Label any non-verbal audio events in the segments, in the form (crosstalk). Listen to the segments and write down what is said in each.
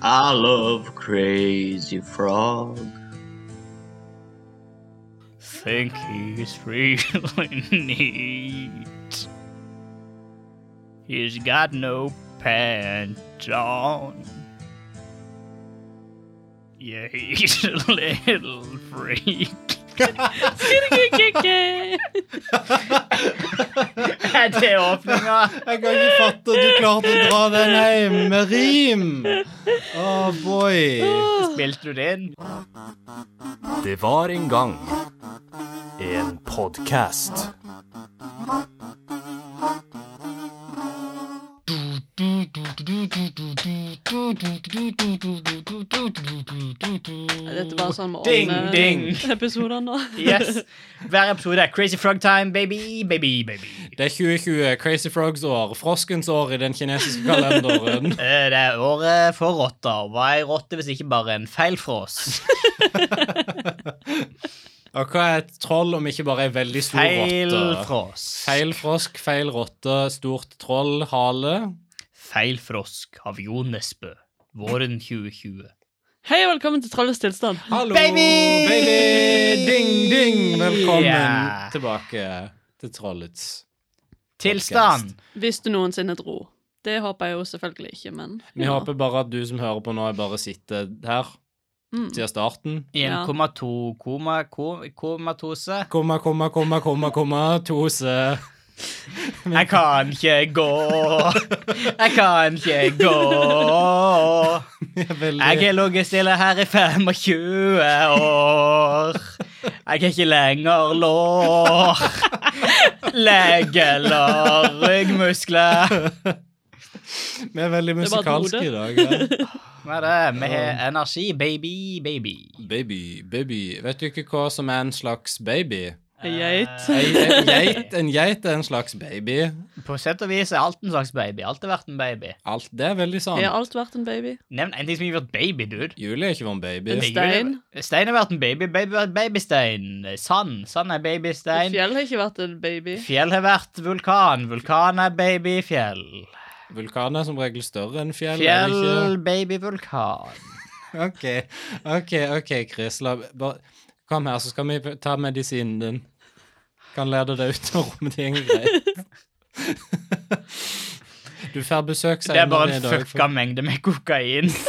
I love Crazy Frog. Think he's really (laughs) neat. He's got no pants on. Yeah, he's (laughs) a little freak. (laughs) Er det åpninga? Jeg kan ikke fatte at du klarte å dra den hjem med rim. Oh boy. Spilte du det inn? Det var en gang en podkast. Dette var sånn med Ding, åpne ding. episoder nå. Yes. Hver episode er Crazy Frog Time, baby, baby, baby. Det er 2020, Crazy Frogs år, froskens år i den kinesiske kalenderen. Eh, Det er året for rotter. Hva er ei rotte hvis ikke bare en feil for oss? Og hva er et troll om ikke bare ei veldig stor Feil rotte? frosk. Feil frosk, feil rotte, stort troll, hale. Feil frosk av Jo Nesbø. Våren 2020. (laughs) Hei og velkommen til Trollets tilstand. Hallo, Baby! baby! Ding, ding! Velkommen Ja. tilbake til trollets Tilstand. Hvis du noensinne dro. Det håper jeg jo selvfølgelig ikke, men Vi håper bare at du som hører på nå, bare sitter her Mm. siden starten. 1,2 koma- ko- (laughs) komatose. Komma, komma, komma, komma, komma, tose. (laughs) Jeg kan ikke gå. Jeg kan ikke gå. Jeg har ligget stille her i 25 år. Jeg har ikke lenger lår. Legg eller ryggmuskler. Vi er veldig Det var et musikalske hode. i dag. Ja. Hva er det? Vi har energi. Baby, baby. (laughs) Baby, baby. Vet du ikke hva som er en slags baby? Ei geit. Ei, en, geit, en geit er en slags baby. På sett og vis er alt en slags baby. Alt har vært en baby. Alt det er veldig sant. Har alt vært en baby? Nevn en ting som ikke har vært baby, dude. Julie er ikke vår baby. En stein. Stein har vært en baby. Baby har vært babystein. Sand. Sand er Et babystein. fjell har ikke vært en baby. Fjell har vært vulkan. Vulkan er babyfjell. Vulkanen er som regel større enn fjell. er det Fjell, babyvulkan. ikke? OK, OK, ok, Chris. La, bare, kom her, så skal vi ta medisinen din. Kan lede deg ut av rommet. Det går greit. Du får besøk Det er bare senere i en dag. fucka mengde med kokain. (laughs)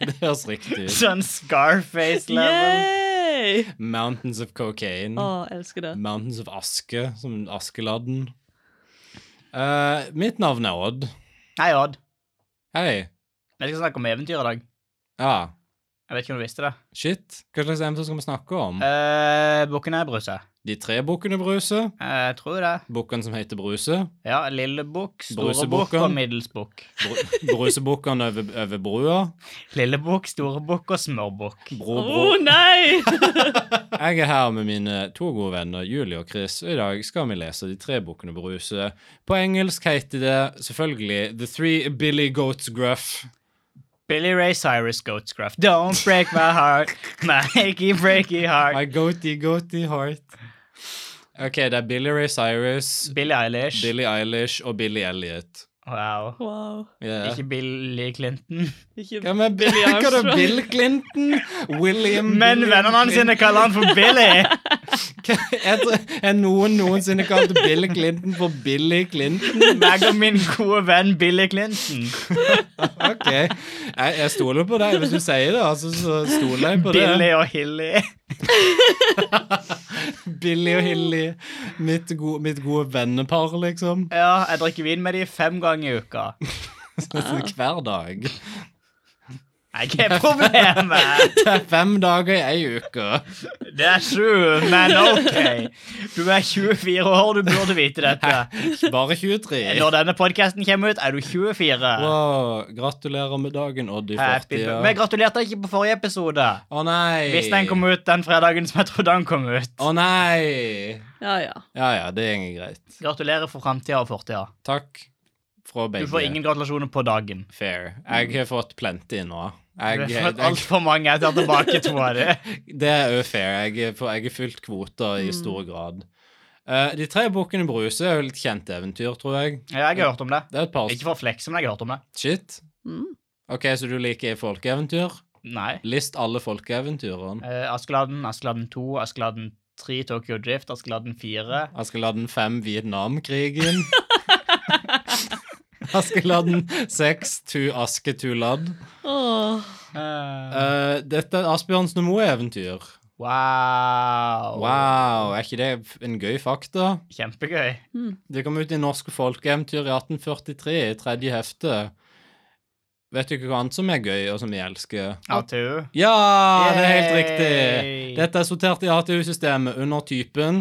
Det høres riktig ut. Sånn Scarface-level. Yay! Mountains of cocaine. Å, elsker det. Mountains of Aske, som Askeladden. Eh, mitt navn er Odd. Hei, Odd. Hei. Vi skal snakke om eventyr i dag. Ja, Jeg vet ikke om du visste det. shit. Hva slags eventyr skal vi snakke om? Uh, Bukken er bruse. De tre bukkene Bruse. Eh, Jeg tror det. Bukken som heter Bruse. Ja, lille bukk, store bukk Brusebukken. og middels bukk. Bru- Brusebukken over, over brua. Lille bukk, store bukk og smørbukk. Bro, Å bro. (laughs) nei! Jeg er her med mine to gode venner Julie og Chris, og i dag skal vi lese De tre bukkene Bruse. På engelsk heter det selvfølgelig The Three Billy Goats Gruff. Billy Ray Cyrus Goatscraft. Don't break my heart, my achy breaky heart. My goaty goaty heart. OK, det er Billy Ray Cyrus, Billie Eilish. Billie Eilish og Billy Elliot. Wow. Wow. Yeah. Ikke Billy Clinton. Ikke... Hvem er Billy Billy (laughs) Hva da? Armstrong. Bill Clinton? William (laughs) Men vennene hans sine kaller han for Billy. (laughs) Er noen noensinne kalt Bill Clinton for Billy Clinton? Meg og min gode venn Billy Clinton. OK. Jeg, jeg stoler på deg. Hvis du sier det, altså, så stoler jeg på det. Billy og Hilly. Billy og Hilly. Mitt, go mitt gode vennepar, (laughs) liksom. (laughs) Ja, jeg drikker vin med de fem ganger i uka. Hver dag. Jeg har problemet. Det er fem dager i ei uke. Det er sju, men ok. Du er 24 år, du burde vite dette. Bare 23. Når denne podkasten kommer ut, er du 24. Wow, gratulerer med dagen, Odd i Happy 40 birthday. Vi gratulerte ikke på forrige episode. Å nei! Hvis den kom ut den fredagen som jeg trodde den kom ut. Å nei! Ja, ja. Ja ja, det går greit. Gratulerer for framtida og fortida. Takk fra begge. Du får ingen gratulasjoner på dagen. Fair. Jeg har fått plenty nå. Du Jeg, har jeg, fått altfor mange. Jeg tar tilbake to av dem. det er jo fair. Jeg er på- jeg har fylt kvoter Mm. i stor grad. Eh, de tre bukkene Bruse er jo litt kjent eventyr, tror jeg. Ja, jeg har hørt om det. Det er et par Ikke for å flekse, men jeg har hørt om det. Shit. Mm. OK, så du liker folkeeventyr? Nei. List alle folkeeventyrene. Eh, Askeladden, Askeladden 2, Askeladden 3, Tokyo Drift, Askeladden 4. Askeladden 5, (laughs) Vietnamkrigen. Askeladden 6, Tu Aske Tu Ladd. Åh. Eh, Eh, dette er Asbjørnsen og Moe-eventyr. wow. Wow, er ikke det en gøy fakta? Kjempegøy. Det kom ut i Norske folkeeventyr i 1843, i tredje hefte. Vet du ikke hva annet som er gøy, og som vi elsker? Arthur. Ja, det er helt Yay! riktig! Dette er sortert i ATU-systemet under typen.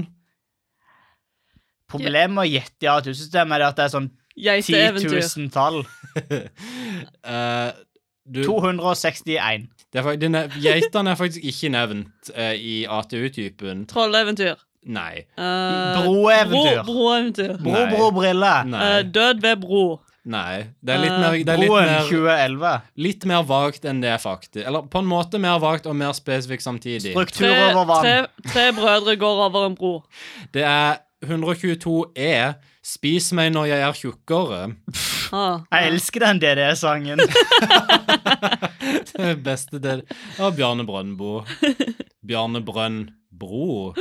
Problemet med å gjette i ATU-systemet er at det er sånn Geiteeventyr. 10 000 tall. Eh, du, 261. det er, fak- den er- Geitene er faktisk ikke nevnt eh, i ATU-typen. Trolleeventyr. Nei. Eh, Broeventyr. Bro, broeventyr. Bro, Nei. bro, brille. Eh, Nei. død ved bro. Nei. Det er litt eh, mer, det er litt Broen mer, 2011. litt mer vagt enn det, faktisk. Eller på en måte mer vagt og mer spesifikt samtidig. Struktur Tre, over tre, vann. tre brødre går over en bro. Det er 122 E. Spis meg når jeg er tjukkere. (laughs) Ah. Jeg elsker den (laughs) DDE-sangen. Det beste del av Bjarne Brøndbo. Bjarne Brøndbro,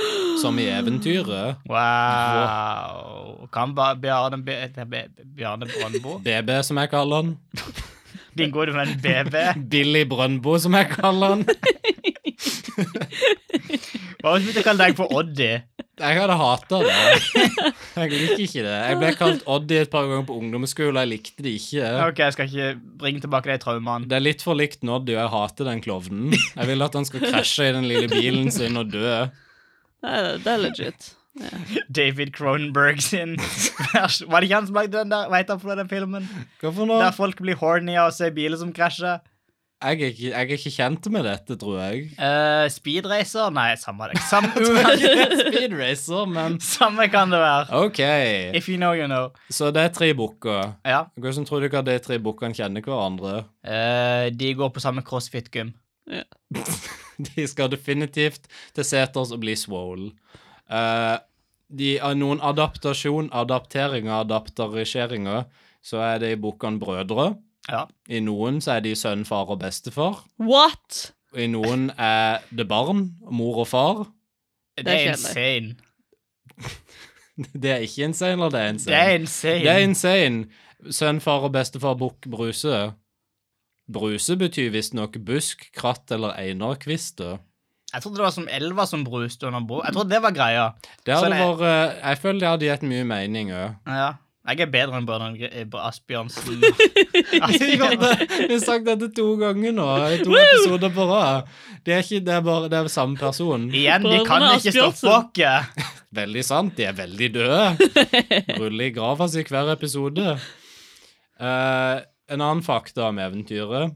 som i eventyret. Wow. Kan bare Bjarne, B- B- Bjarne Brøndbo? BB, som jeg kaller han. Din gode venn BB? Billy Brøndbo, som jeg kaller han. Hva hvis vi ikke kaller deg for Oddi? Jeg hadde hata det. Jeg liker ikke det. Jeg ble kalt Oddi et par ganger på ungdomsskolen. Jeg likte det ikke. Ok, jeg skal ikke bringe tilbake de traumene. Det er litt for likt Noddy, og jeg hater den klovnen. Jeg vil at han skal krasje i den lille bilen sin og dø. Nei, det- det er legit. David Cronenberg sin vers. Var det ikke han som lagde den der? Hva heter han for den filmen? Hva for noe? Der folk blir horny av å se biler som krasjer. Jeg er, ikke, jeg er ikke kjent med dette, tror jeg. (laughs) Uh, speedracer? Nei, samme det. Samme, Speed Racer, men samme kan det være. OK. If you know, you know. Så det er tre bukker. Ja. Hvordan tror dere de tre bukkene kjenner hverandre? (laughs) Eh, de går på samme crossfit-gym. De skal definitivt til seters og bli swole. Eh, de har noen adaptasjon, adapteringer, adapterisjeringer. Så er de bukkene brødre. Ja. I noen så er de sønn, far og bestefar. What? Og i noen er det barn, mor og far. Det Det er er kjedelig. insane. Det er ikke insane, eller det er Det er insane? insane. Det er insane. Sønn, far og bestefar bukk bruse. Bruse betyr visstnok busk, kratt eller einarkvister. Jeg trodde det var som elva som bruste under bro. Jeg trodde det var greia. Det hadde Sånn er- vært eh, Jeg føler det hadde gitt mye (laughs) mening òg. Ja. Jeg er bedre enn Bjørn (laughs) Asbjørnsen. Vi har sagt dette to ganger nå, i to episoder på rad. Det er ikke det er bare det er samme person. Igjen, de kan Brødrene ikke Asbjørnsen. stoppe oss. Veldig sant, de er veldig døde. Ruller i grava si hver episode. Eh, en annen fakta om eventyret.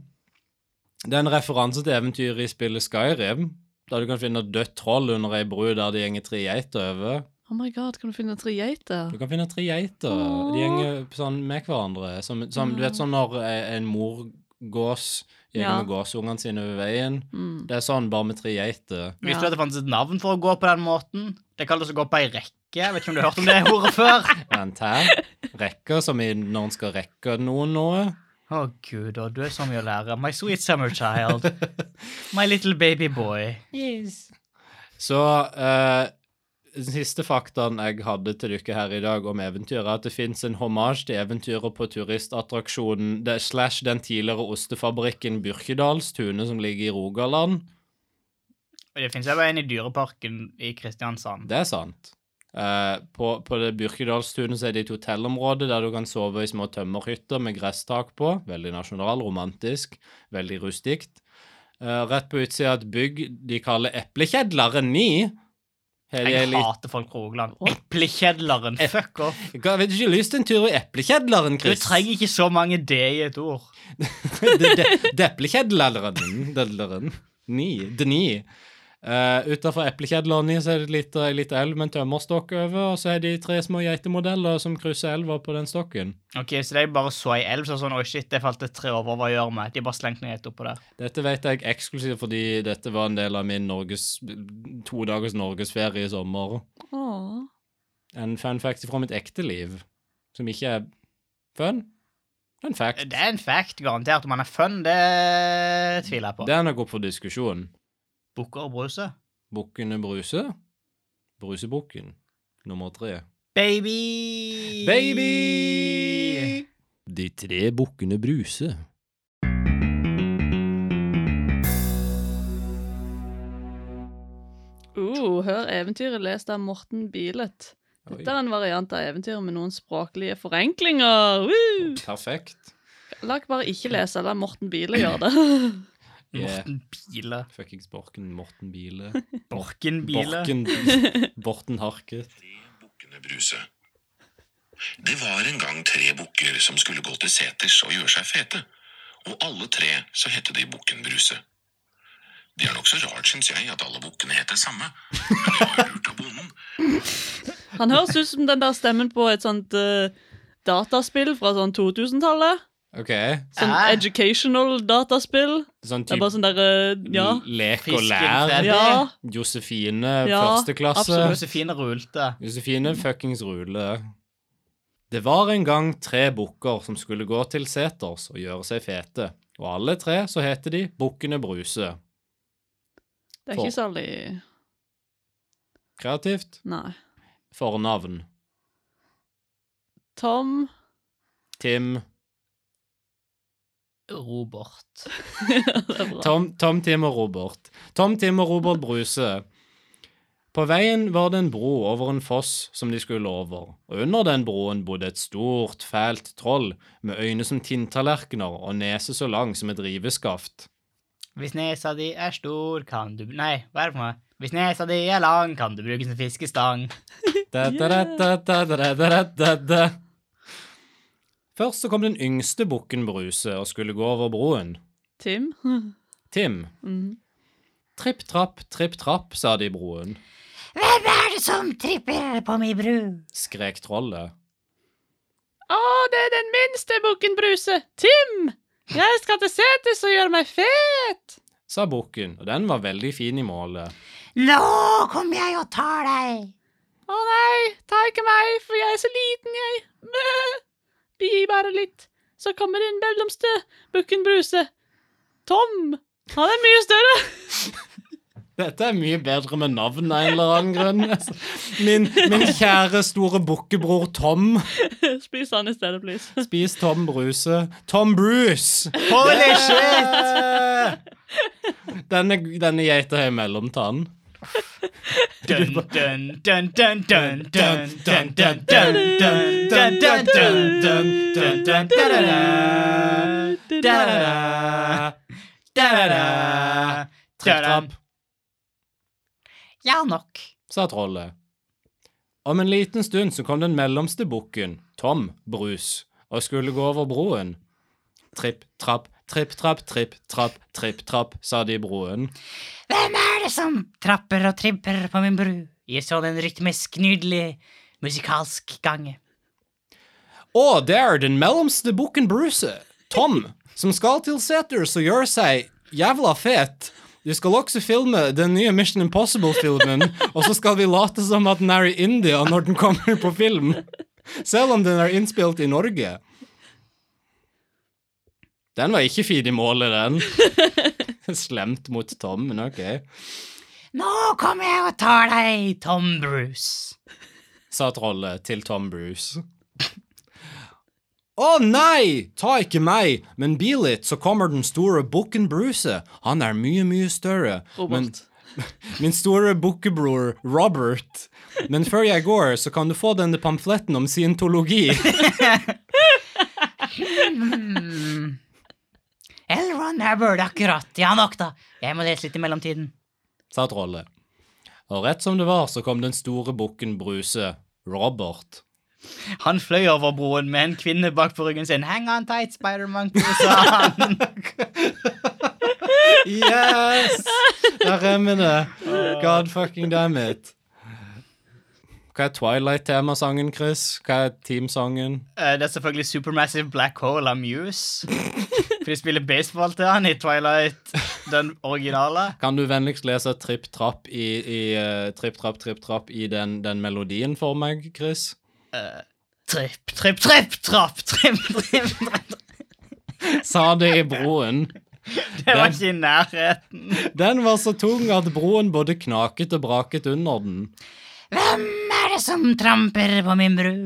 Det er en referanse til eventyret i spillet Skyrim, der du kan finne et dødt troll under ei bru der det gjenger tre geiter over. Oh my god, kan du finne tre geiter? Du kan finne tre geiter. Åh. De gjenger sånn med hverandre. Som, som, du vet sånn når eh, en mor gås gjenger Ja. med gåsungene sine over veien. Mm. Det er sånn bare med tre geiter. Visste Ja. du at det fantes et navn for å gå på den måten? Det kalles å gå på ei rekke. Jeg vet ikke om du har hørt om det ordet før? Vent her. Rekker som i når en skal rekke noen noe. (laughs) Å gud, og du er så mye å lære. My sweet summer child. My little baby boy. Så eh, den siste faktaen jeg hadde til dere her i dag om eventyr, er at det fins en hommage til eventyret på turistattraksjonen det, slash den tidligere ostefabrikken Byrkedalstunet som ligger i Rogaland. Og Det fins jo bare en i Dyreparken i Kristiansand. Det er sant. Eh, på, på det Byrkedalstunet så er det et hotellområde der du kan sove i små tømmerhytter med gresstak på. Veldig nasjonal, romantisk, veldig rustikt. Eh, rett på utsida av et bygg de kaller Eplekjedleren 9. Her er Jeg litt- hater folk fra Rogaland. Eplekjedleren. Fuck off. Hva, vet du ikke lyst til en tur i Eplekjedleren, Du Chris? (laughs) trenger ikke så mange D i et ord. de, de, Deplekjedleren. Dedleren. Ni. Dni. Uh, Utafor Eplekjedleren ni, så er det et lite, ei lite elv med en tømmerstokk over, og så er de tre små geitemodeller som krysser elva på den stokken. Ok, Så de bare så ei elv så sånn Oi, shit, det falt et tre over. Hva gjør vi? De bare slengte ned et oppå der. Dette vet jeg eksklusivt fordi dette var en del av min Norges, to dagers norgesferie i sommer. Åh. En fun fact fra mitt ekte liv, som ikke er fun. Det er en fact. Det er en fact, garantert. Om han er fun, det tviler jeg på. Det er nok opp for diskusjon. Bukker og bruse. Bukkene Bruse. Brusebukken nummer tre. Baby! Baby! De tre bukkene Bruse. Uh, hør eventyret lest av Morten Bilet. Dette er en variant av eventyret med noen språklige forenklinger. Woo! Perfekt. La dere bare ikke lese, la Morten Bilet gjøre (laughs) det. Yeah. Morten Bile. Fuckings Borken Morten Bile. Borken Bile. Borken Bi- (laughs) Borten Harket. bukkene Bruse. Det var en gang tre bukker som skulle gå til seters og gjøre seg fete. Og alle tre så hette de Bukken Bruse. Det er nokså rart, syns jeg, at alle bukkene het det samme. Men det var jo lurt av bonden. Han høres ut som den der stemmen på et sånt eh, dataspill fra sånn 2000-tallet. OK. Sånn Hæ? educational dataspill. Sånn Det er type bare sånn derre Ja. lek og Fisken lær. Freddy. Ja. Josefine Ja, første klasse. absolutt. Josefine Rulte. Josefine fuckings Rule. Det var en gang tre bukker som skulle gå til seters og gjøre seg fete, og alle tre så heter de Bukkene Bruse. Det er ikke særlig Kreativt. Nei. Fornavn. Tom Tim. (laughs) Robert. Det er bra. Tom, Tom, Tim og Robert. Tom, Tim og Robert Bruse. På veien var det en bro over en foss som de skulle over, og under den broen bodde et stort, fælt troll med øyne som tinntallerkener og nese så lang som et riveskaft. Hvis nesa di er stor, kan du Nei, hva er det for noe? Hvis nesa di er lang, kan du bruke som fiskestang. Da, da, da, da, da, da, da, da, da, da. Først så kom den yngste bukken Bruse og skulle gå over broen. Tim. Tim. Mhm. Tripp trapp, tripp trapp, sa de i broen, Er det som tripper på mi bru? skrek trollet. Å, det er den minste bukken Bruse. Tim! Jeg skal til seters og gjøre meg fet. Sa bukken, og den var veldig fin i målet. Nå kommer jeg og tar deg! Å nei, ta ikke meg, for jeg er så liten, jeg. Mæ. Bi bare litt, så kommer den mellomste bukken Bruse. Tom. Han er mye større. (laughs) Dette er mye bedre med navn av en eller annen (laughs) grunn. Min, min kjære store bukkebror Tom. Spis han i stedet, please. Spis Tom Bruse. Tom Bruce! (laughs) Holy shit! Denne, denne geita har mellomtann. Dun, dun, dun, dun, dun, dun, dun, dun, dun, dun, dun, dun, dun, dun, dun, dun, da-da-da. Da-da-da. Da-da-da. Tripp trapp, Ja, nok. sa trollet. Om en liten stund så kom den mellomste bukken, Tom Brus, og skulle gå over broen. Tripp, trapp, tripp, trapp, tripp, trapp, tripp, trapp, sa de i broen. Hvem er det som trapper og trimper på min bru? Jeg så den rytmisk, nydelig, musikalsk gange. Å, det er den mellomste bukken Bruse, Tom, som skal til seters og gjøre seg jævla fet. Du skal også filme den nye Mission Impossible-filmen, og så skal vi late som at den er i India når den kommer på film. Selv om den er innspilt i Norge. Den var ikke fin i målet, den. Slemt mot Tom, men ok. Nå kommer jeg og tar deg, Tom Bruce. sa trollet til Tom Bruce. Å nei, ta ikke meg, men bi litt, så kommer den store bukken Bruse. Han er mye, mye større. Men, (laughs) Robert. min store bukkebror Robert. Men før jeg går, så kan du få denne pamfletten om scientologi. (laughs) Elron Hubbard, akkurat. Ja, nok da. Jeg må lese litt i mellomtiden. sa trollet. Og rett som det var, så kom den store bukken Bruse, Robert. Han fløy over broen med en kvinne bak på ryggen sin. Hang on tight, Spider-Monkey, sa (laughs) han. Yes! Der remmer det. God fucking damn it. Hva er Twilight-temasangen, Chris? Hva er teamsangen? Eh, Det er selvfølgelig Supermassive Black Hole av Muse. For de spiller baseball til han i Twilight, den originale. Kan du vennligst lese Tripp Trapp i, i eh, Tripp Trapp, Tripp Trapp i den, den melodien for meg, Chris? Tripp, tripp, tripp, trapp, tripp, tripp, tripp, tripp. sa det i broen. Det var Den- ikke i nærheten. Den var så tung at broen både knaket og braket under den. Hvem er det som tramper på min bru?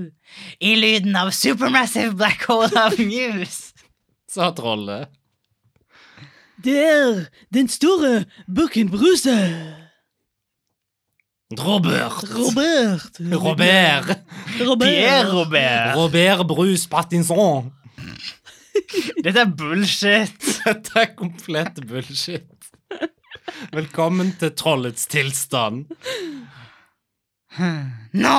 I lyden av supermassive black hole of news. sa trollet. Det er den store Bukken Bruse. Robert. Robert. Robert. Pierre Robert. Robert. Robert Bruce Pattinson. Dette er bullshit. (laughs) Dette er komplett bullshit. Velkommen til trollets tilstand, Hm. Nå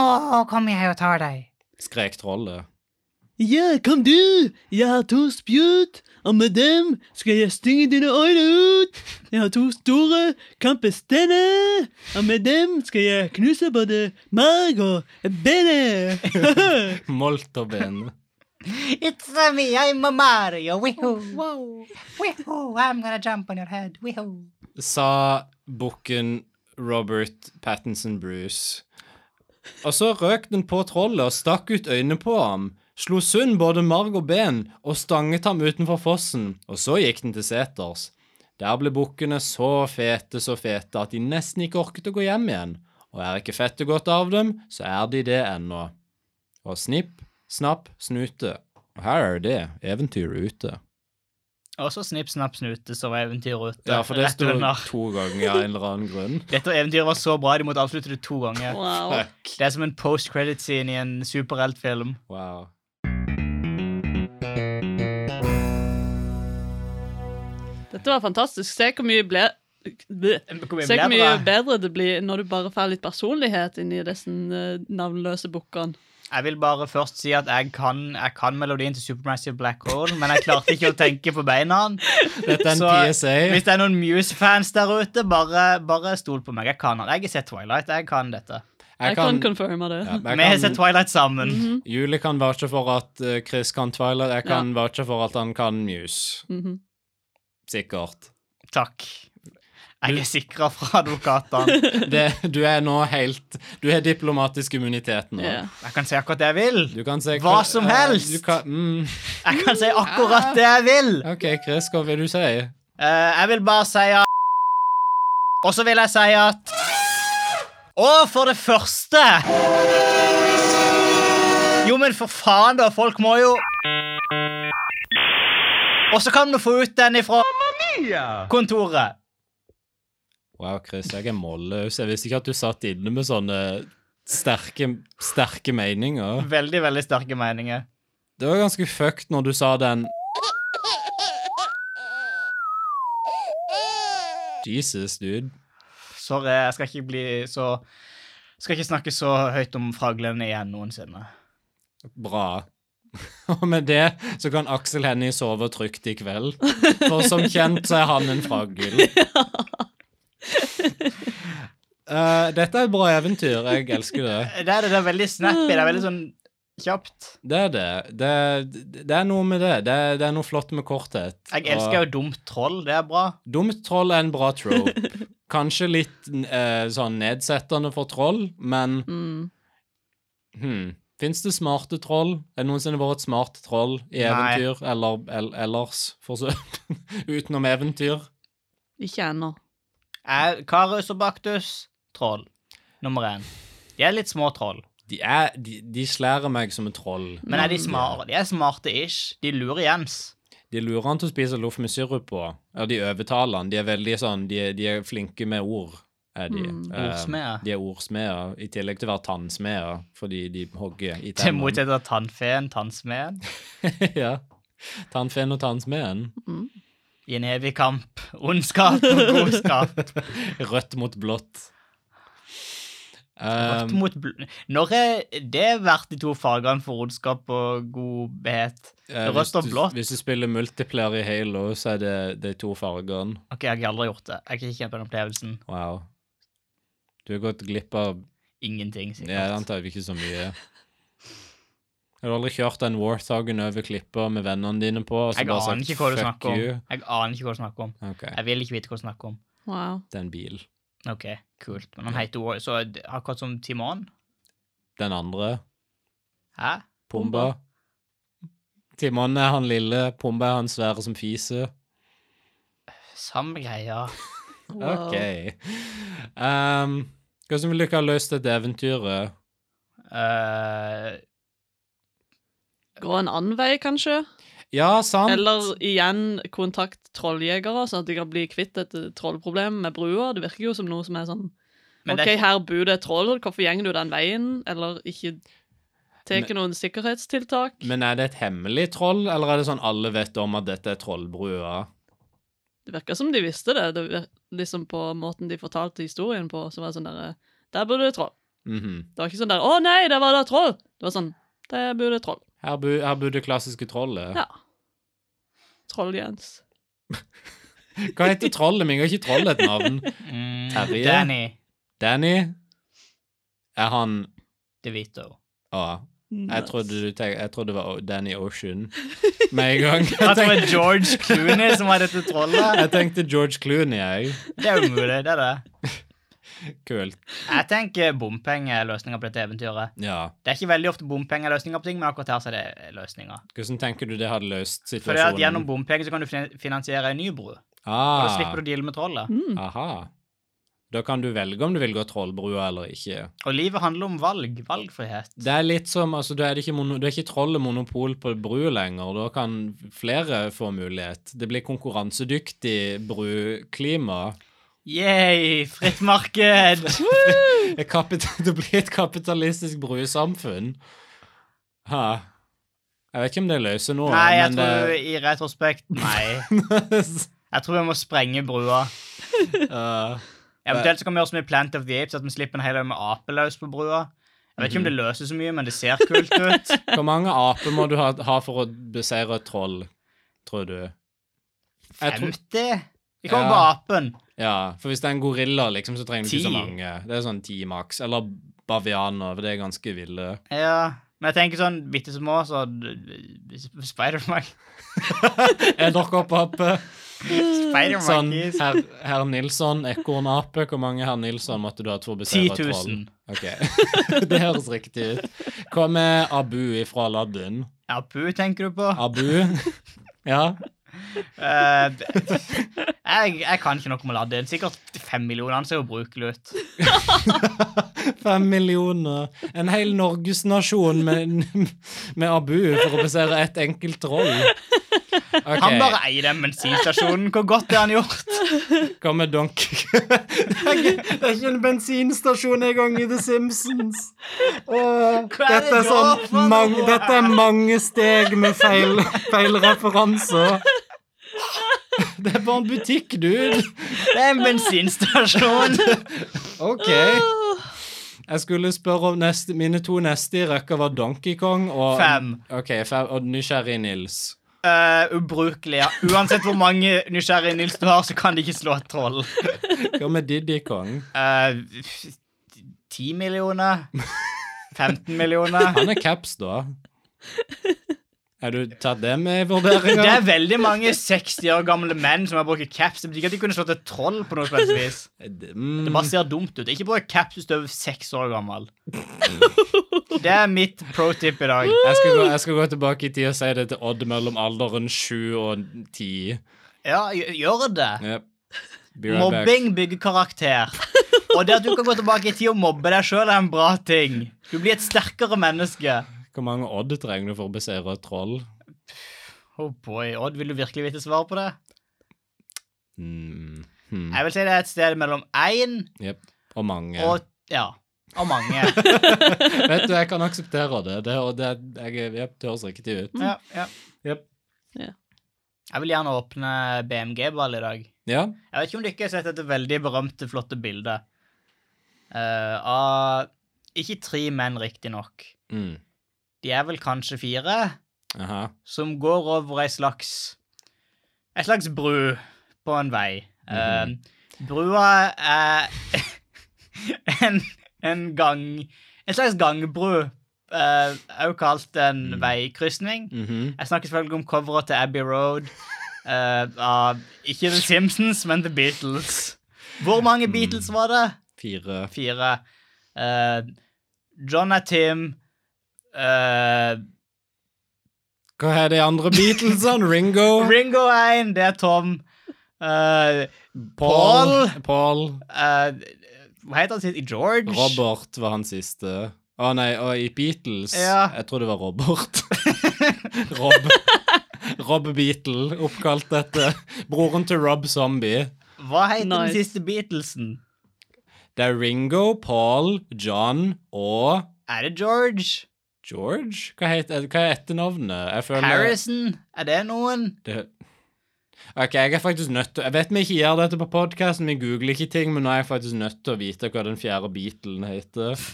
kommer jeg og tar deg. skrek trollet. Ja, kom du. Jeg har to spjut, og med dem skal jeg stynge dine øyne ut. Jeg har to store kampestener, og med dem skal jeg knuse både mag og benet. Molt og bene. It's a me, I'm a Mario. Wihoo, Wow. wihoo, I'm gonna jump on your head. Wihoo. Sa bukken Robert Pattinson Bruce. Og så røk den på trollet og stakk ut øynene på ham. Slo sund både marg og ben og stanget ham utenfor fossen, og så gikk den til seters. Der ble bukkene så fete, så fete at de nesten ikke orket å gå hjem igjen. Og er ikke fettet godt av dem, så er de det ennå. Og snipp, snapp, snute. Og her er det eventyret ute. Og så snipp, snapp, snute, så var eventyret ute. Ja, for det Rett sto under. to ganger av en eller annen grunn. Dette eventyret var så bra, de måtte avslutte det to ganger. wow. Fuck. Det er som en post-credit-scene i en superheltfilm. Wow. Dette var fantastisk. Se hvor mye ble... Bleh. Hvor mye Se hvor mye bedre. bedre det blir når du bare får litt personlighet inn i disse eh, navnløse bukkene. Jeg vil bare først si at jeg kan, jeg kan melodien til Supermassive Black Hole, men jeg klarte ikke å tenke på beina. Dette er en Så eh, PSA. hvis det er noen Muse-fans der ute, bare, bare stol på meg. Jeg kan han. Jeg har sett Twilight. Jeg kan dette. Jeg kan confirme det. Mhm. ja, men Vi har jeg sett kan Twilight sammen. Julie kan vouche for at eh, Chris kan Twilight. Jeg kan vouche for at han kan Muse. Mhm. Sikkert. Takk. Jeg er sikra fra advokatene. Det, du er nå helt Du har diplomatisk immunitet nå. Ja. Jeg kan si akkurat det jeg vil. Du kan se Hva som eh, helst! Du kan, mm, Jeg kan si akkurat det jeg vil. OK, Chris, hva vil du si? Eh, jeg vil bare si at Og så vil jeg si at Og for det første Jo, men for faen, da. Folk må jo Og så kan du få ut den ifra kontoret. Wow, Chris, jeg er målløs. Jeg visste ikke at du satt inne med sånne sterke, sterke meninger. Veldig, veldig sterke meninger. Det var ganske fucked når du sa den Jesus, dude. Sorry, jeg skal ikke bli så Skal ikke snakke så høyt om fraglene igjen noensinne. Bra. (laughs) Og med det så kan Aksel Hennie sove trygt i kveld. For som kjent så er han en fragl. Eh, dette er et bra eventyr. Jeg elsker det. Det er det, det er veldig snappy. Det er veldig sånn kjapt. Det er det. Det, det er noe med det. Det er, det er noe flott med korthet. Jeg elsker jo dumt troll. Det er bra. Dumt troll er en bra trope. Kanskje litt eh, sånn nedsettende for troll, men Mm. hmm. Fins det smarte troll? Er det noensinne vært et smart troll i Nei. eventyr eller el ellers? For så, (laughs) utenom eventyr? Ikke ennå. er Karus og Baktus troll. Nummer én. De er litt små troll, De, er, de, de slærer meg som et troll. men er de smarte? De er smarte ish. De lurer Jens. De lurer han til å spise loff med sirup på. Ja, de overtaler han. De er veldig sånn De, er- de er flinke med ord, er de. Mm, Eh, Ordsmeder. De er ordsmeder, i tillegg til å være tannsmeder, fordi de hogger i Til tennene. motsetning av tannfeen, tannsmeden, (laughs) ja. Tannfeen og tannsmeden. i en evig kamp. Ondskap og godskap. Rødt mot blått. Rødt (laughs) Um, mot bl Når har det vært de to fargene for ondskap og godhet? eh, hvis Rødt og du- blått? Hvis du spiller multiplayer i Halo, så er det de to fargene. Ok, jeg har aldri gjort det. Jeg har ikke kjent på den opplevelsen. Wow. Du har gått glipp av Ingenting, Jeg sikkert. antar ikke så mye. Har du aldri kjørt den Warthogen over klipper med vennene dine på? Og så Jeg bare aner sagt, ikke hva du «Fuck snakker om. you». Jeg aner ikke hva du snakker om. Ok, Jeg vil ikke vite hva du snakker om. Wow. det er en bil. Ok, kult. Men han heter War- Så akkurat som Timon? Den andre, Hæ? Pumba. Timon er han lille, Pumba er han svære som fiser. Samme greia. Wow. Ok. Um, hva som vil dere ha løst dette eventyret? Eh, Gå en annen vei, kanskje? Ja, sant. Eller igjen kontakt trolljegere, sånn at de kan bli kvitt et trollproblem med brua. Det virker jo som noe som er sånn Men OK, det er ikke- her bor det et troll, hvorfor gjenger du den veien? Eller ikke tar noen sikkerhetstiltak? Men er det et hemmelig troll, eller er det sånn alle vet om at dette er trollbrua? Det virker som de visste det. det vir liksom På måten de fortalte historien på, så var det sånn derre Der bor det et troll. Mhm. Det var ikke sånn der Å nei, der var det et troll! Det var sånn Der bor det et troll. her, bo, her bor det klassiske trollet. Ja. Troll-Jens. Hva heter trollet min? Har ikke trollet et navn? mm, Terje? Danny Danny? Er han (laughs) DeVito. Å, jeg trodde du tenk, Jeg trodde det var O- Danny Ocean med en gang. Jeg At det var tenkte, George Clooney som var dette trollet. (laughs) jeg tenkte George Clooney, jeg. Det er umulig, det er det. Kult. Jeg tenker bompengeløsninger på dette eventyret. Ja. Det er ikke veldig ofte bompengeløsninger på ting, men akkurat her så er det eh, løsninger. Hvordan tenker du det hadde løst For det er at gjennom situasjonen? bompenger så kan du fin- finansiere en ny bru. Og da Ah, slipper du å deale med trollet. aha. Da kan du velge om du vil gå trollbrua eller ikke. Og livet handler om valg. Valgfrihet. Det er litt som, altså, Du er det ikke, mono, du er ikke trollet monopol på bru lenger. Da kan flere få mulighet. Det blir konkurransedyktig bruklima. Yay, fritt marked! Et kapit- (laughs) Det blir et kapitalistisk brusamfunn. Ha. Jeg vet ikke om det løser noe. Nei, jeg men (laughs) eh, tror det, i retrospekt Nei. Jeg tror vi må sprenge brua. uh, Eventuelt så kan vi gjøre som i Plant of the Apes, at vi slipper en hel haug med aper løs på brua. Jeg vet ikke om det løser så mye, men det ser kult ut. Hvor mange aper må du ha, ha for å beseire et troll, tror du? (laughs) Jeg tror- 50? Vi kommer på Ja. apen. Ja, for hvis det er en gorilla, liksom, så trenger du ikke så Ti. mange. Det er sånn ti maks. Eller bavianer, for det er ganske ville. Ja. Men jeg tenker sånn bitte små, så Spider-Man. Er dere oppe (laughs) oppe? Sånn, Spider-Monkeys. herr herr Nilsson, ekornape. Hvor mange herr Nilsson måtte du ha for å beseiret 10 000. troll? Ok, (laughs) Det høres riktig ut. Hva med Abu fra Aladdin? Apu, tenker du på? Abu? (laughs) Ja, Eh, (laughs) jeg, jeg kan ikke noe om Aladdin. Sikkert fem millioner. Han ser ubrukelig ut. fem millioner. En hel norgesnasjon med, (laughs) med Abu for å beseiret ett enkelt troll. Ok. Han bare eier den bensinstasjonen. Hvor godt er han gjort? Hva med Donkey Kong? (laughs) Det er ikke- det er ikke en bensinstasjon engang i The Simpsons. Åh, er dette, er det da for sånn, mang, noe? dette er mange steg med feil, feil referanser. Det er bare en butikk, dude. Det er en bensinstasjon. (laughs) OK. Jeg skulle spørre om neste, mine to neste i røkka var Donkey Kong og Fem. Ok, fem og Nysgjerrig Nils. Eh, ubrukelig. Ja. Uansett hvor mange nysgjerrige Nils du har, så kan de ikke slå et troll. Hva med Diddy Kong? Eh, Ti millioner? 15 millioner? Han er caps, da. Har du tatt det med i vurderinga? Det er veldig mange 60 år gamle menn som har brukt caps. Det betyr ikke at de kunne slått et troll på noe som helst vis. Det bare ser dumt ut. Ikke bruk caps hvis du er over seks år gammel. Det er mitt pro tip i dag. Jeg skal, gå, jeg skal gå tilbake i tid og si det til Odd mellom alderen 7 og 10. Ja, gj- gjør det. Yep. Be right back. Mobbing bygger karakter. Og det at du kan gå tilbake i tid og mobbe deg sjøl, er en bra ting. Du blir et sterkere menneske. Hvor mange Odd trenger du for å beseire et troll? Oh boy, Odd, vil du virkelig vite svaret på det? Mm. Hmm. Jeg vil si det er et sted mellom én Yep. Og mange. og Ja. Og mange. (laughs) Vet du, jeg kan akseptere det. Det, og det, jeg, yep, det høres riktig ut. Ja, ja. Yep. Ja. Jeg vil gjerne åpne BMG-ball i dag. Ja. Jeg vet ikke om dere har sett dette veldig berømte, flotte bildet eh, av Ikke tre menn, riktignok. Mm. De er vel kanskje fire, Aha. som går over ei slags Ei slags bru på en vei. Eh, brua er (laughs) en, en gang En slags gangbru, eh, også kalt en veikrysning. Mhm. Jeg snakker selvfølgelig om coveret til Abbey Road. eh, av ikke The Simpsons, men The Beatles. Hvor mange Beatles var det? Fire. Fire. Eh, John og Tim eh, Hva er de andre Beatlesene? Ringo? Ringo er en, det er Tom. Eh, Paul? Paul. eh, hva heter han sist? George? Robert var han siste. Å nei, å, i Beatles Ja. Jeg tror det var Robert. (laughs) Rob. Rob Beatle, oppkalt etter broren til Rob Zombie. Hva heter Nice. den siste Beatlesen? Det er Ringo, Paul, John og Er det George? George? Hva, heter, hva er etternavnet? Jeg føler Harrison? Er det noen? Det... Ok, jeg er faktisk nødt til Jeg vet vi ikke gjør dette på podkasten, vi googler ikke ting, men nå er jeg faktisk nødt til å vite hva den fjerde Beatlen heter.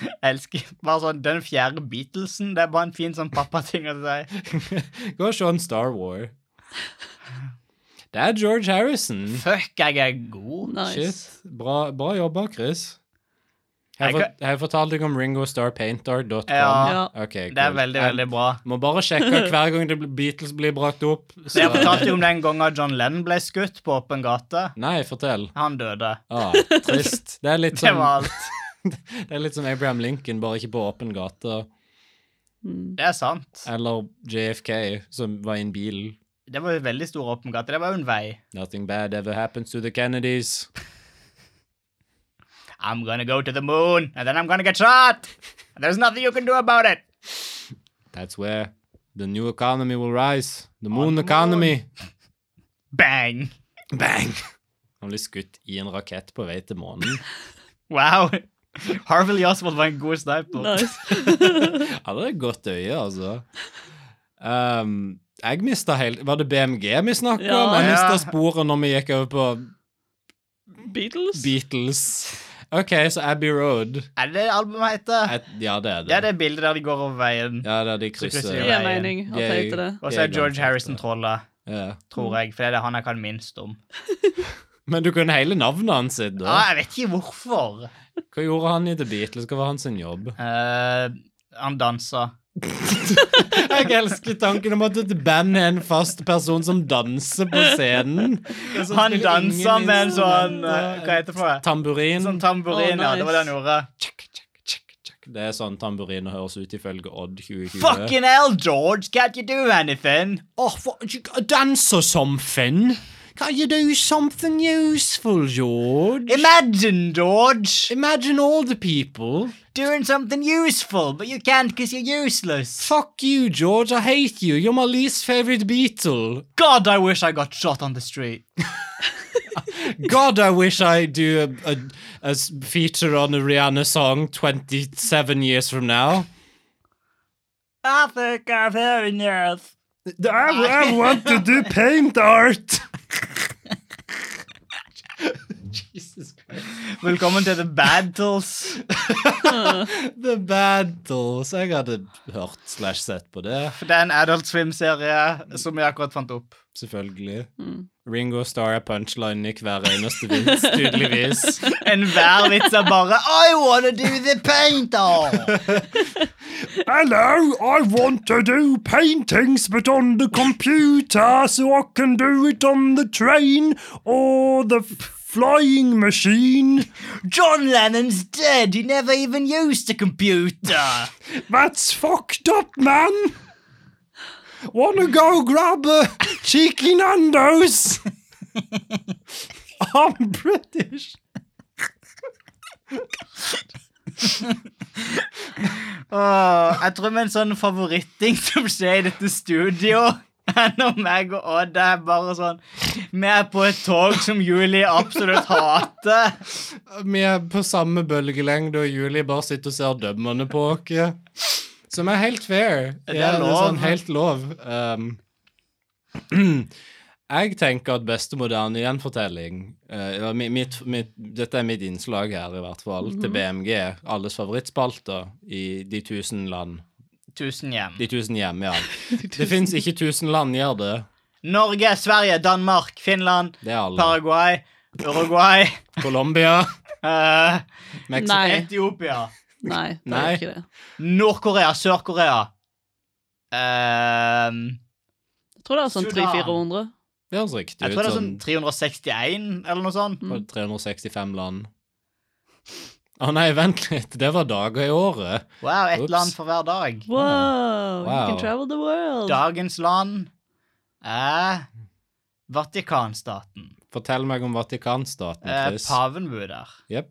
Jeg elsker bare sånn den fjerde Beatlesen. Det er bare en fin sånn pappating å si. Gå og se en Star War. Det er George Harrison. Fuck, jeg er god. Nice. Shit. Bra, bra jobba, Chris. Har jeg, Jeg fort- har jeg fortalt deg om ringostarpainter.com? Ja. Ok, cool. Det er veldig, veldig bra. Jeg må bare sjekke hver gang det blir- Beatles blir brakt opp. så- Jeg fortalte jo om den gangen John Lennon ble skutt på åpen gate. Nei, fortell. Han døde. Ah, trist. Det er litt Det var som, alt. det er litt som Abraham Lincoln, bare ikke på åpen gate. Mm. Det er sant. Eller JFK, som var i en bil. Det var jo en veldig stor åpen gate. Det var jo en vei. Nothing bad ever happens to the Kennedys. I'm gonna go to the moon, and then I'm gonna get shot. There's nothing you can do about it. That's where the new economy will rise. The moon the moon. economy. Bang. Bang! Han blir skutt i en rakett på vei til månen. Wow. (laughs) Harvey Oswald var en god sniper. (laughs) nice. Han hadde et godt øye, altså. Ehm, jeg mista helt Var det BMG vi snakka Ja. om? Jeg mista Ja. sporet når vi gikk over på Beatles? Beatles. OK, så Abbey Road Er det det albumet heter? Et- Ja, det Ah. er det. Det er det bildet der de går over veien. Ja, der de krysser krysser. de Det Ja, gir mening at De det heter det. Og de så er George ganske Harrison ofte. trollet, Ja. tror jeg. For det er det han jeg kan minst om. Men du kunne hele navnet hans. sitt, Ja, da. jeg vet ikke hvorfor. Hva gjorde han i The Beatles? Hva var hans jobb? Eh, han dansa. Jeg elsker tanken om at et band er en fast person som danser på scenen. Og så Han spiller dansa ingen med en sånn eh, instrumenter. Hva heter det? for noe? Tamburin. Sånn tamburin, Å, ja. Det var det han nice. gjorde. Det er sånn tamburin høres ut ifølge Odd 2020. Fucking hell, George! Can't you do anything? oh, Danser something? Can you do something useful, George? Imagine, George, Imagine all the people. doing something useful, but you can't because you're useless. Fuck you, George. I hate you. You're my least favorite Beatle. God, I wish I got shot on the street. God, I wish I do a, a, a s- feature on a Rihanna song 27 years from now. I think I've had enough. I, I want to do paint art. Velkommen til The Battles. The Battles. Jeg hadde hørt slash sett på det, For (laughs) det er en Adult Swim-serie som jeg akkurat fant opp. selvfølgelig. Ringo Starr er punchlinen i hver eneste vits, tydeligvis. Enhver vits er bare I wanna do the painter! Hello, I want to do paintings, but on the computer, so I can do it on the train or the flying machine. John Lennon's dead. He never even used a computer. That's fucked up, man. Wanna go grab a cheeky (laughs) Nando's? I'm British. Åh, jeg tror min sånn favoritting som skjer i dette studio (laughs) er når meg og Odd er bare sånn Vi er på et tog som Julie absolutt hater. Vi er på samme bølgelengde, og Julie bare sitter og ser dømmende på oss. Som er helt fair. Det er Ja, det er lov. sånn helt lov. Um, (clears throat) jeg tenker at beste moderne gjenfortelling eh, ja, mi- mitt, mitt, Dette er mitt innslag her, i hvert fall, til Mhm. BMG. Alles favorittspalter i De tusen land. Tusen hjem. De tusen hjem, (laughs) ja. Det fins ikke tusen land, gjør det? Norge, Sverige, Danmark, Finland, Det er alle. Paraguay, Uruguay, (laughs) Colombia, eh, Mexico Nei. Etiopia, Nei, det Nei. er ikke det. Nord-Korea, Sør-Korea Ehm, Jeg tror det er sånn Sudan. 300-400. Det høres riktig Jeg ut. tror det er Sånn sånn 361 eller noe sånn. på 365 land. Å nei, vent litt. Det var dager i året. Wow, ett Ups. land for hver dag. Wow, you Wow. can travel the world. Dagens land er Vatikanstaten. Fortell meg om Vatikanstaten, Eh, Chris. paven bor der. Jep.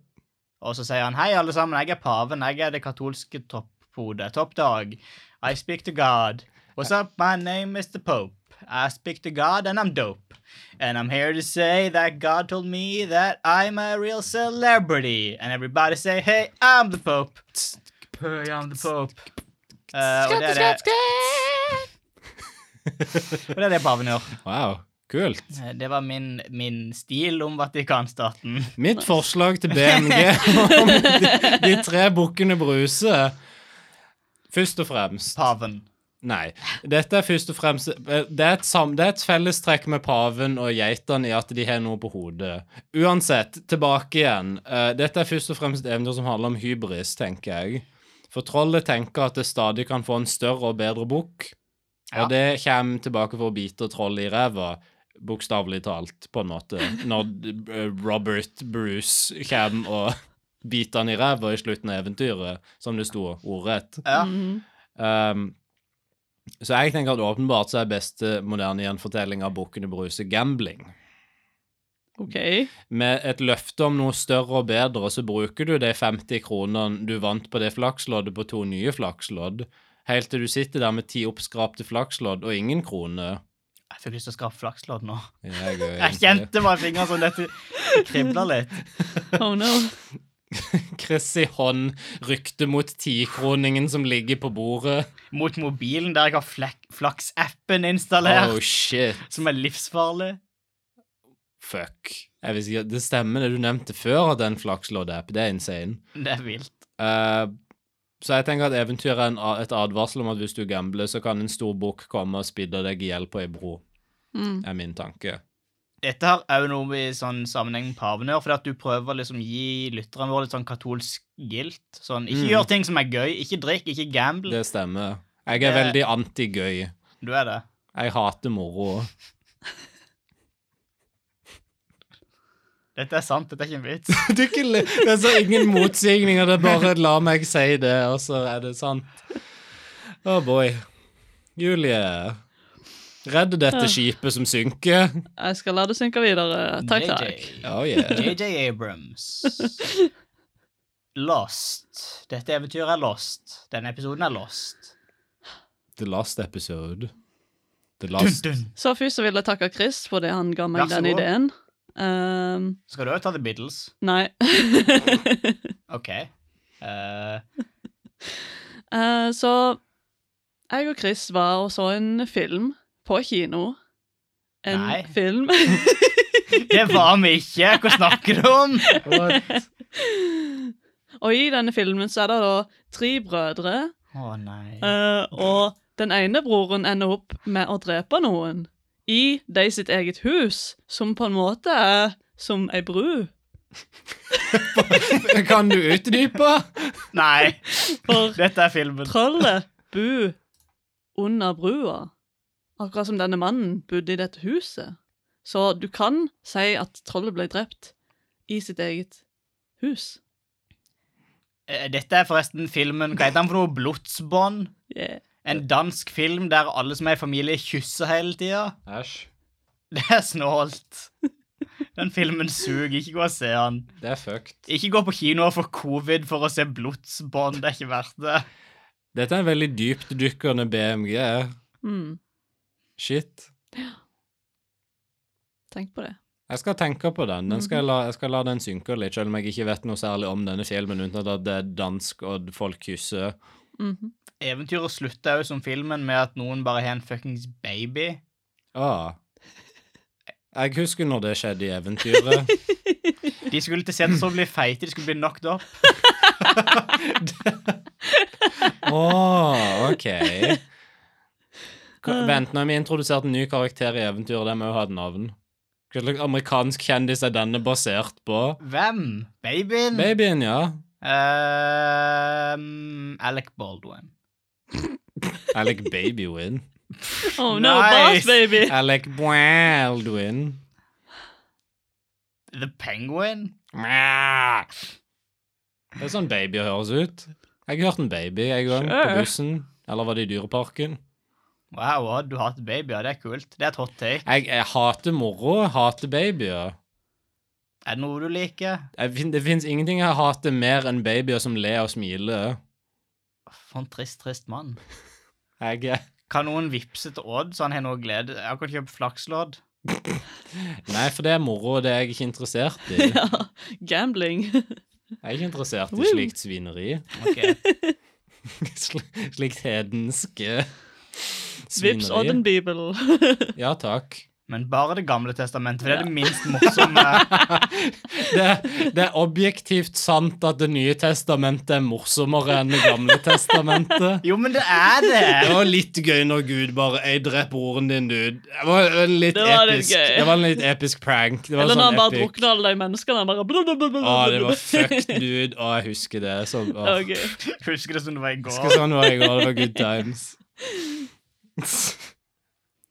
Og så sier han hei, alle sammen, jeg er paven, jeg er det katolske topphodet. Toppdag. I speak to God. What's up? My name is the Pope. I speak to God and I'm dope. And I'm here to say that God told me that I'm a real celebrity. And everybody say, hey, I'm the Pope. Hey, I'm the Pope. Eh, og, det er Skatt, skatt, det, skatt! (laughs) og det er det paven gjør. Wow, kult. Eh, Det var min, min stil om Vatikanstaten. (laughs) Mitt forslag til BMG om de, de tre bukkene Bruse Først og fremst Paven. Nei. Dette er først og fremst eh, Det er et, sam, det er et fellestrekk med paven og geitene i at de har noe på hodet. Uansett, tilbake igjen. Eh, Dette er først og fremst et eventyr som handler om hybris, tenker jeg. For trollet tenker at det stadig kan få en større og bedre bukk. Ja. Og det kommer tilbake for å bite trollet i ræva, bokstavelig talt, på en måte, når eh, Robert Bruce kommer og biter han i ræva i slutten av eventyret, som det sto ordrett. Ja. Mhm. Um, så jeg tenker at åpenbart så er beste moderne gjenfortelling av Bukkene Bruse gambling. OK. Med et løfte om noe større og bedre, så bruker du de 50 kronene du vant på det flaksloddet, på to nye flakslodd, helt til du sitter der med ti oppskrapte flakslodd og ingen krone. Jeg fikk lyst til å skrape flakslodd nå. Jeg, er Jeg kjente bare fingrene som dette kribla litt. Oh no. (laughs) Chris i hånd rykte mot tikroningen som ligger på bordet. Mot mobilen der jeg har flak flaksappen Oh installert, shit. som er livsfarlig. Fuck. Jeg visste ikke, det stemmer det du nevnte før, at det er en flakslodd-app. Det er insane. Det er vilt. Eh, så jeg tenker at eventyret er en, a- et advarsel om at hvis du gambler, så kan en stor bukk komme og spidde deg i hjel på ei bro, Mm. er min tanke. Dette har òg noe i sånn sammenheng med paven å gjøre, fordi at du prøver å liksom gi lytterne våre litt sånn katolsk guilt. Sånn, ikke Mm. gjør ting som er gøy, ikke drikk, ikke gamble. Det stemmer. Jeg er Det- veldig anti-gøy. Du er det. Jeg hater moro. (laughs) Dette er sant, dette er ikke en vits. Det er ikke li- det er så ingen motsigninger, det er bare la meg si det, og så er det sant. Oh boy. Julie. Redd dette skipet som synker. Jeg skal la det synke videre. (laughs) Takk, takk. JJ. Oh yeah. JJ Abrams. Lost. Dette eventyret er lost. Denne episoden er lost. The last episode. The last Så først så vil jeg takke Chris for det han ga meg Vær så den god. ideen. Ehm, Skal du òg ta The Beatles? nei. (laughs) OK. Eh, Eh, så jeg og Chris var og så en film på kino. En Nei. film (laughs) det var vi ikke! Hva snakker du om? Og i denne filmen så er det da tre brødre, Å nei. eh, og den ene broren ender opp med å drepe noen i de sitt eget hus, som på en måte er som ei bru. (laughs) Kan du utdype? Nei, For dette er filmen. trollet bor under brua, akkurat som denne mannen bodde i dette huset. Så du kan si at trollet ble drept i sitt eget hus. Eh, Dette er forresten filmen Hva heter den for noe? Blodsbånd? Yeah. En dansk film der alle som er i familie, kysser hele tida? Æsj. Det er snålt. Den filmen suger. Ikke gå og se den. Det er fucked. Ikke gå på kino og få covid for å se blodsbånd. Det er ikke verdt det. Dette er en veldig dyptdykkende BMG. Mm, Shit. tenk på det. Jeg skal tenke på den. den skal jeg, la, jeg skal la den synke litt, selv om jeg ikke vet noe særlig om denne filmen, uten at det er dansk og folk kysser. Mhm. Eventyret slutter jo som filmen med at noen bare har en fuckings baby. Ah. Jeg husker når det skjedde i eventyret. De skulle til seters og bli feite. De skulle bli knocked up. Å, Ah, ok. Ka- Vent, når vi introduserte en ny karakter i eventyret, den må jo ha et navn. Hva slags amerikansk kjendis er denne basert på? Hvem? Babyen? Babyen, ja. Ehm, Alec Baldwin. Alec Babywin. Oh no, Nice. boss baby! Alec Baldwin. The Penguin? Mæ. Det er sånn babyer høres ut. Jeg har hørt en baby en gang på Sure. bussen. Eller var det i Dyreparken? Wow, Odd, du hater babyer. Det er kult. Det er et hot take. Jeg, jeg hater moro, jeg hater babyer. Er det noe du liker? Jeg, fin- det fins ingenting jeg hater mer enn babyer som ler og smiler. For en trist, trist mann. Jeg, eh, Kan noen vippse til Odd, så han har noe glede? Jeg kan kjøpe flakslodd. nei, for det er moro, og det er jeg ikke interessert (laughs) i. Jeg Ja, gambling. er ikke interessert Woo. i slikt svineri. (laughs) Ok. Sl- Slikt hedenske Vips svineri. Oddenbibel. Ja takk. Men bare Det gamle testamentet, for det er det minst morsomme. Det, det er objektivt sant at Det nye testamentet er morsommere enn Det gamle testamentet. Jo, men det er Det det! var litt gøy når Gud bare Jeg dreper broren din, dude. Det var en litt, Det var litt episk, gøy. det var en litt episk prank. Det var Eller sånn når han bare epic. drukner alle de menneskene. Han bare blablabla. Å, det var (laughs) fucked, dude. Å, jeg husker det. Så, å. Ja, gøy. Husker det som det var i Jeg går. husker sånn var jeg går. Det var good times.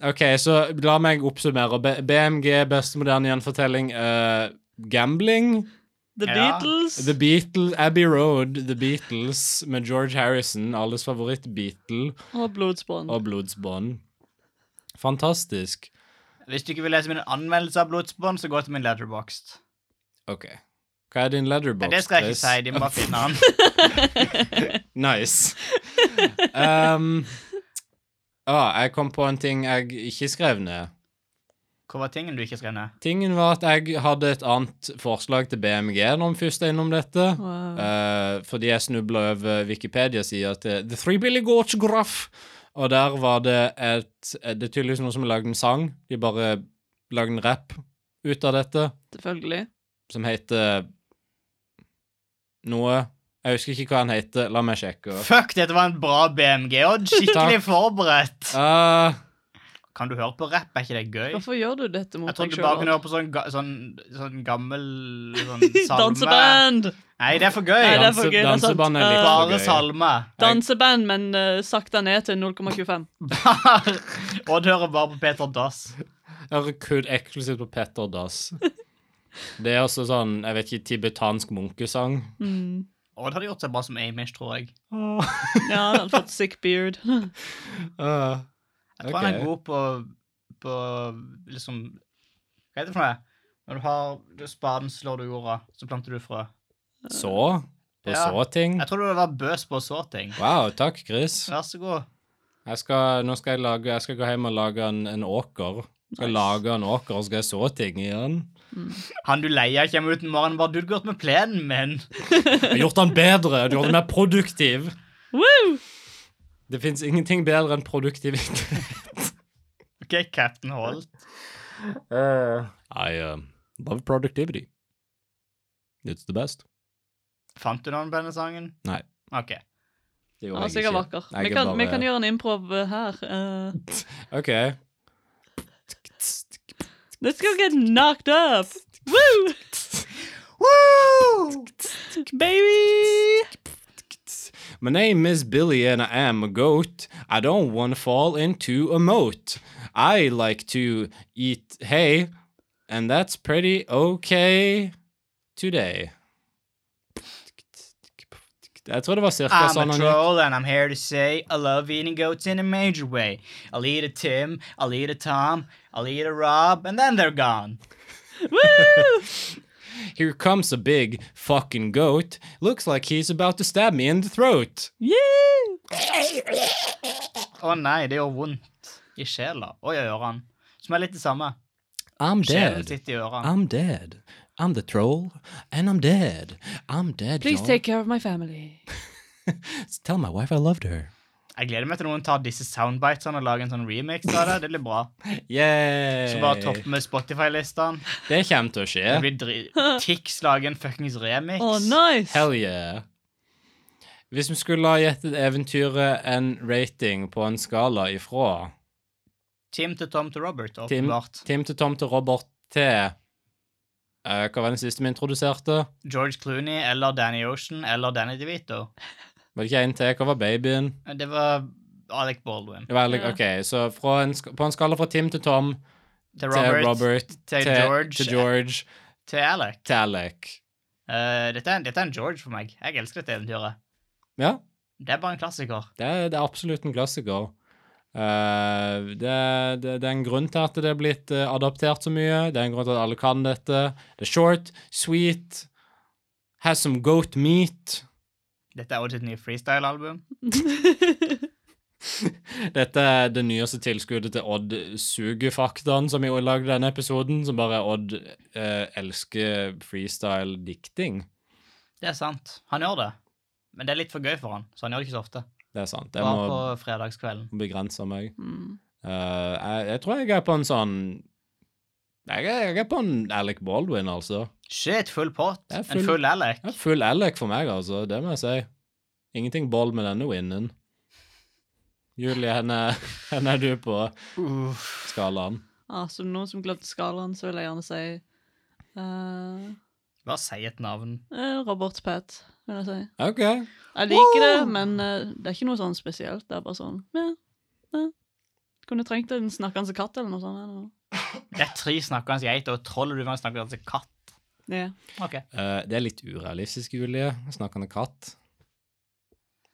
OK, så la meg oppsummere. B BMG, beste moderne gjenfortelling. eh, gambling. The Ja. Beatles. The Beatles, Abbey Road, The Beatles med George Harrison, alles favoritt-Beatle, Og blodsbånd. og blodsbånd. Fantastisk. Hvis du ikke vil lese mine anmeldelser av blodsbånd, så gå til min letterbox. Ok. Hva er din letterbox? Nei, det skal jeg ikke si. Chris? De må bare finne han. Nice. (laughs) um, ah, jeg kom på en ting jeg ikke skrev ned. Hva var tingen du ikke skrev ned? Tingen var at jeg hadde et annet forslag til BMG når vi først er innom dette. Wow. Eh, fordi jeg snubla over Wikipedia-sida til eh, The Three Billy Gorge Gruff. Og der var det et eh, Det er tydeligvis noen som har lagd en sang. De bare lagde en rap ut av dette, Selvfølgelig. som heter Noe Jeg husker ikke hva han heter. La meg sjekke. Fuck, dette var en bra BMG, Odd. Skikkelig forberedt. Ah, Kan du høre på rapp? Er ikke det gøy? Hvorfor gjør du dette mot Jeg trodde deg du bare kunne sjøl? høre på sånn, ga- sånn, sånn gammel sånn (laughs) salme. Danseband! Nei, det er for Nei, det gøy. er for Danse- gøy. det er sant. danseband er litt Eh, for Bare gøy. salme. Danseband, men eh, sakta ned til 0,25. Bare Odd hører bare på Peter Dass. Jeg hører kun eksklusivt på Petter Dass. Det er også sånn, jeg vet ikke, tibetansk munkesang. Mm. Odd hadde gjort seg bra som Amish, tror jeg. (laughs) Ja, han hadde fått sick beard. (laughs) Ah. Jeg tror han er Ok. god på, på liksom Hva heter det for noe? Når du har du spaden, slår du jorda, så planter du frø. så? Og Ja. så ting? Jeg tror du var bøs på å så ting. Wow, takk, Chris. Vær så god. Jeg skal, nå skal jeg, lage, jeg skal gå hjem og lage en, en åker. Jeg skal lage en åker, og skal jeg så ting i den. Han du leier, kommer ut en morgen og bare 'Du har gått med plenen min'. Jeg har gjort den bedre, du har gjort den mer produktiv. Woo! Det fins ingenting bedre enn produktivitet. (laughs) OK, Captain Holt. I uh, love productivity. It's the best. Fant du noen på denne sangen? Nei. OK. Det Han gjorde var jeg sikkert ikke. vakker. Jeg Vi er kan, vi bare- kan gjøre en improv eh, her. eh. Ok. let's go get knocked up! (laughs) Woo! Woo! Baby! My name is Billy and I am a goat. I don't want to fall into a moat. I like to eat hay, and that's pretty okay today. Jeg tror det var cirka I'm a sånn han gikk. troll, and I'm here to say I love eating goats in a major way. I'll eat a Tim, I'll eat a Tom, I'll eat a Rob, and then they're gone. Here comes a big fucking goat. Looks like he's about to stab me in the throat. Yeah! Å nei, det gjør vondt i sjela og i ørene. Som er litt det samme. I'm Sjelen dead. sitter i ørene. I'm dead. I'm the troll, and I'm dead. I'm dead, Please y'all. take care of my family. Tell my wife I loved her. Jeg gleder meg til noen tar disse soundbitene og lager en sånn remix av det. Det blir bra. Yay! Så bare topp med Spotify-listene. Det kommer til å skje. Det blir dri... Tix lager en fuckings remix. Oh, nice! Hell yeah. Hvis vi skulle ha gitt et eventyret en rating på en skala ifra Tim til Tom til Robert, Tim, åpenbart. Tim til Tom til Robert til eh, Hva var den siste vi introduserte? George Clooney eller Danny Ocean eller Danny DeVito. Var det ikke en til? Hva var babyen? Det var Alec Baldwin. Det var Alec- Ja. ok, Så fra en, sk- på en skala fra Tim til Tom Til Robert. til Robert til George. til, George, Til Alec. til Alec Eh, dette, er, dette er en George for meg. Jeg elsker dette eventyret. Ja, Det er bare en klassiker. det er, det er absolutt en klassiker. Eh, det, det, det er en grunn til at det er blitt eh, adaptert så mye. Det er en grunn til at alle kan dette. Det er short, sweet, has some goat meat. Dette er også sitt nye freestyle-album. Dette er det nyeste tilskuddet til Odd Sugefaktaen, som jeg lagde denne episoden, som bare er Odd eh, elsker freestyle-dikting. Det er sant. Han gjør det. Men det er litt for gøy for han, så han gjør det ikke så ofte. Det er sant. Jeg Bare må på fredagskvelden. begrense (laughs) meg. Mm. Eh, jeg, jeg tror jeg er på en sånn jeg er, jeg er på en Alec Baldwin, altså. Shit, full pott. Det En er full- full Alec. Jeg er full Alec for meg, altså. Det må jeg si. Ingenting bold med denne winnen. Julie, henne, henne er du på Uff. skalaen. Ah, som noen som glemte skalaen, så vil jeg gjerne si eh, Bare si et navn. eh, Robert Pett, vil jeg si. OK. Eh, Jeg liker det, men eh, det er ikke noe sånn spesielt. Det er bare sånn ja, ja. Kunne trengt en snakkende katt eller noe sånt. Eller noe. Det er tre snakkende geiter og troll, og du kan snakke til katt. (laughs) Ja. Ok. Eh, det er litt urealistisk, Julie. Snakkende katt.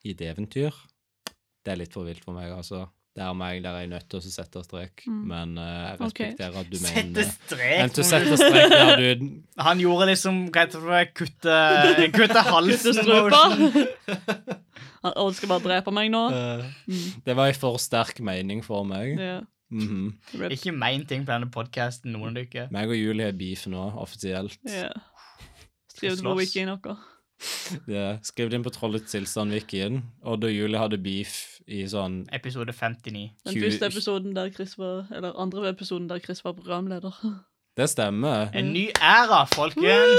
I et eventyr. Det er litt for vilt for meg, altså. Det er meg der jeg er nødt til å sette strek, Mm. men eh, jeg Ok. respekterer at du mener Sette det. Men strek. til å sette strek der, du (laughs) Han gjorde liksom Hva heter det? Kutte, (laughs) kutte Kutte halsen. strupa! Han han skal bare drepe meg nå. Eh, Mm. Det var en for sterk mening for meg. Ja. Mhm. Rip. Ikke mein ting på denne podkasten, noen av dere. Meg og Julie har beef nå, offisielt. Ja. Skriv det på Slåss. wikien deres. Det- Skriv det inn på Trollets tilstand Wikien. Odd og Julie hadde beef i sånn Episode 59. Den Tjue- første episoden der Chris var Eller andre episoden der Chris var programleder. (laughs) Det stemmer. En ny æra, folkens!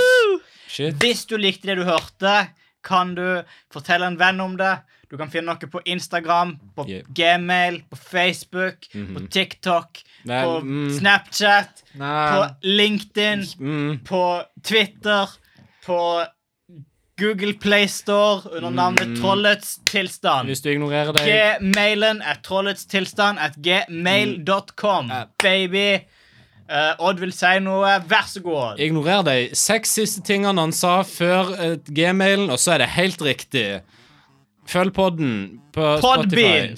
Shit. Hvis du likte det du hørte, kan du fortelle en venn om det. Du kan finne noe på Instagram, på Yeah. Gmail, på Facebook, på Mhm. TikTok, Nei, på mm. Snapchat, på Nei. LinkedIn, Mm. på Twitter, på Google Play Store under navnet Trollets tilstand. Mm. Hvis du ignorerer det Gmailen er trollets tilstand at gmail.com, Mm. baby. Eh, Odd vil si noe. Vær så god. Ignorer de seks siste tingene han sa før eh, gmailen, og så er det helt riktig. Følg podden på Podbean,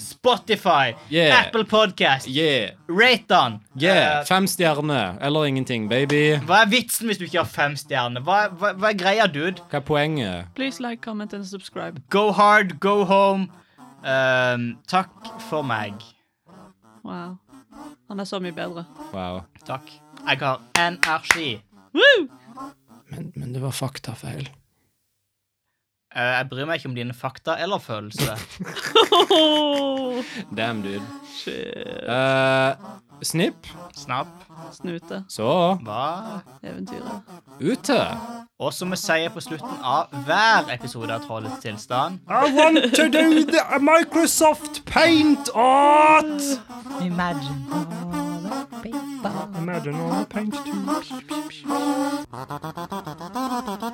Spotify, Spotify. Yeah. Apple Podcast. Yeah. Rate den. yeah. Eh, Fem stjerner eller ingenting, baby. hva er vitsen hvis du ikke har fem stjerner? Hva, hva, hva er greia, dude? Hva er poenget? Please like, comment and subscribe. Go hard, go home. Ehm, takk for meg. Wow. Han er så mye bedre. Wow. Takk. Jeg har energi. Woo! (laughs) Men, men det var faktafeil. Eh, jeg bryr meg ikke om dine fakta eller følelser. Damn, dude. Eh, snipp. Snapp. Snute. Så Hva? Eventyret. ute. Og som vi sier på slutten av hver episode av Trollets tilstand I want to do the Microsoft Paint art. Imagine. Imagine all the paint tubes.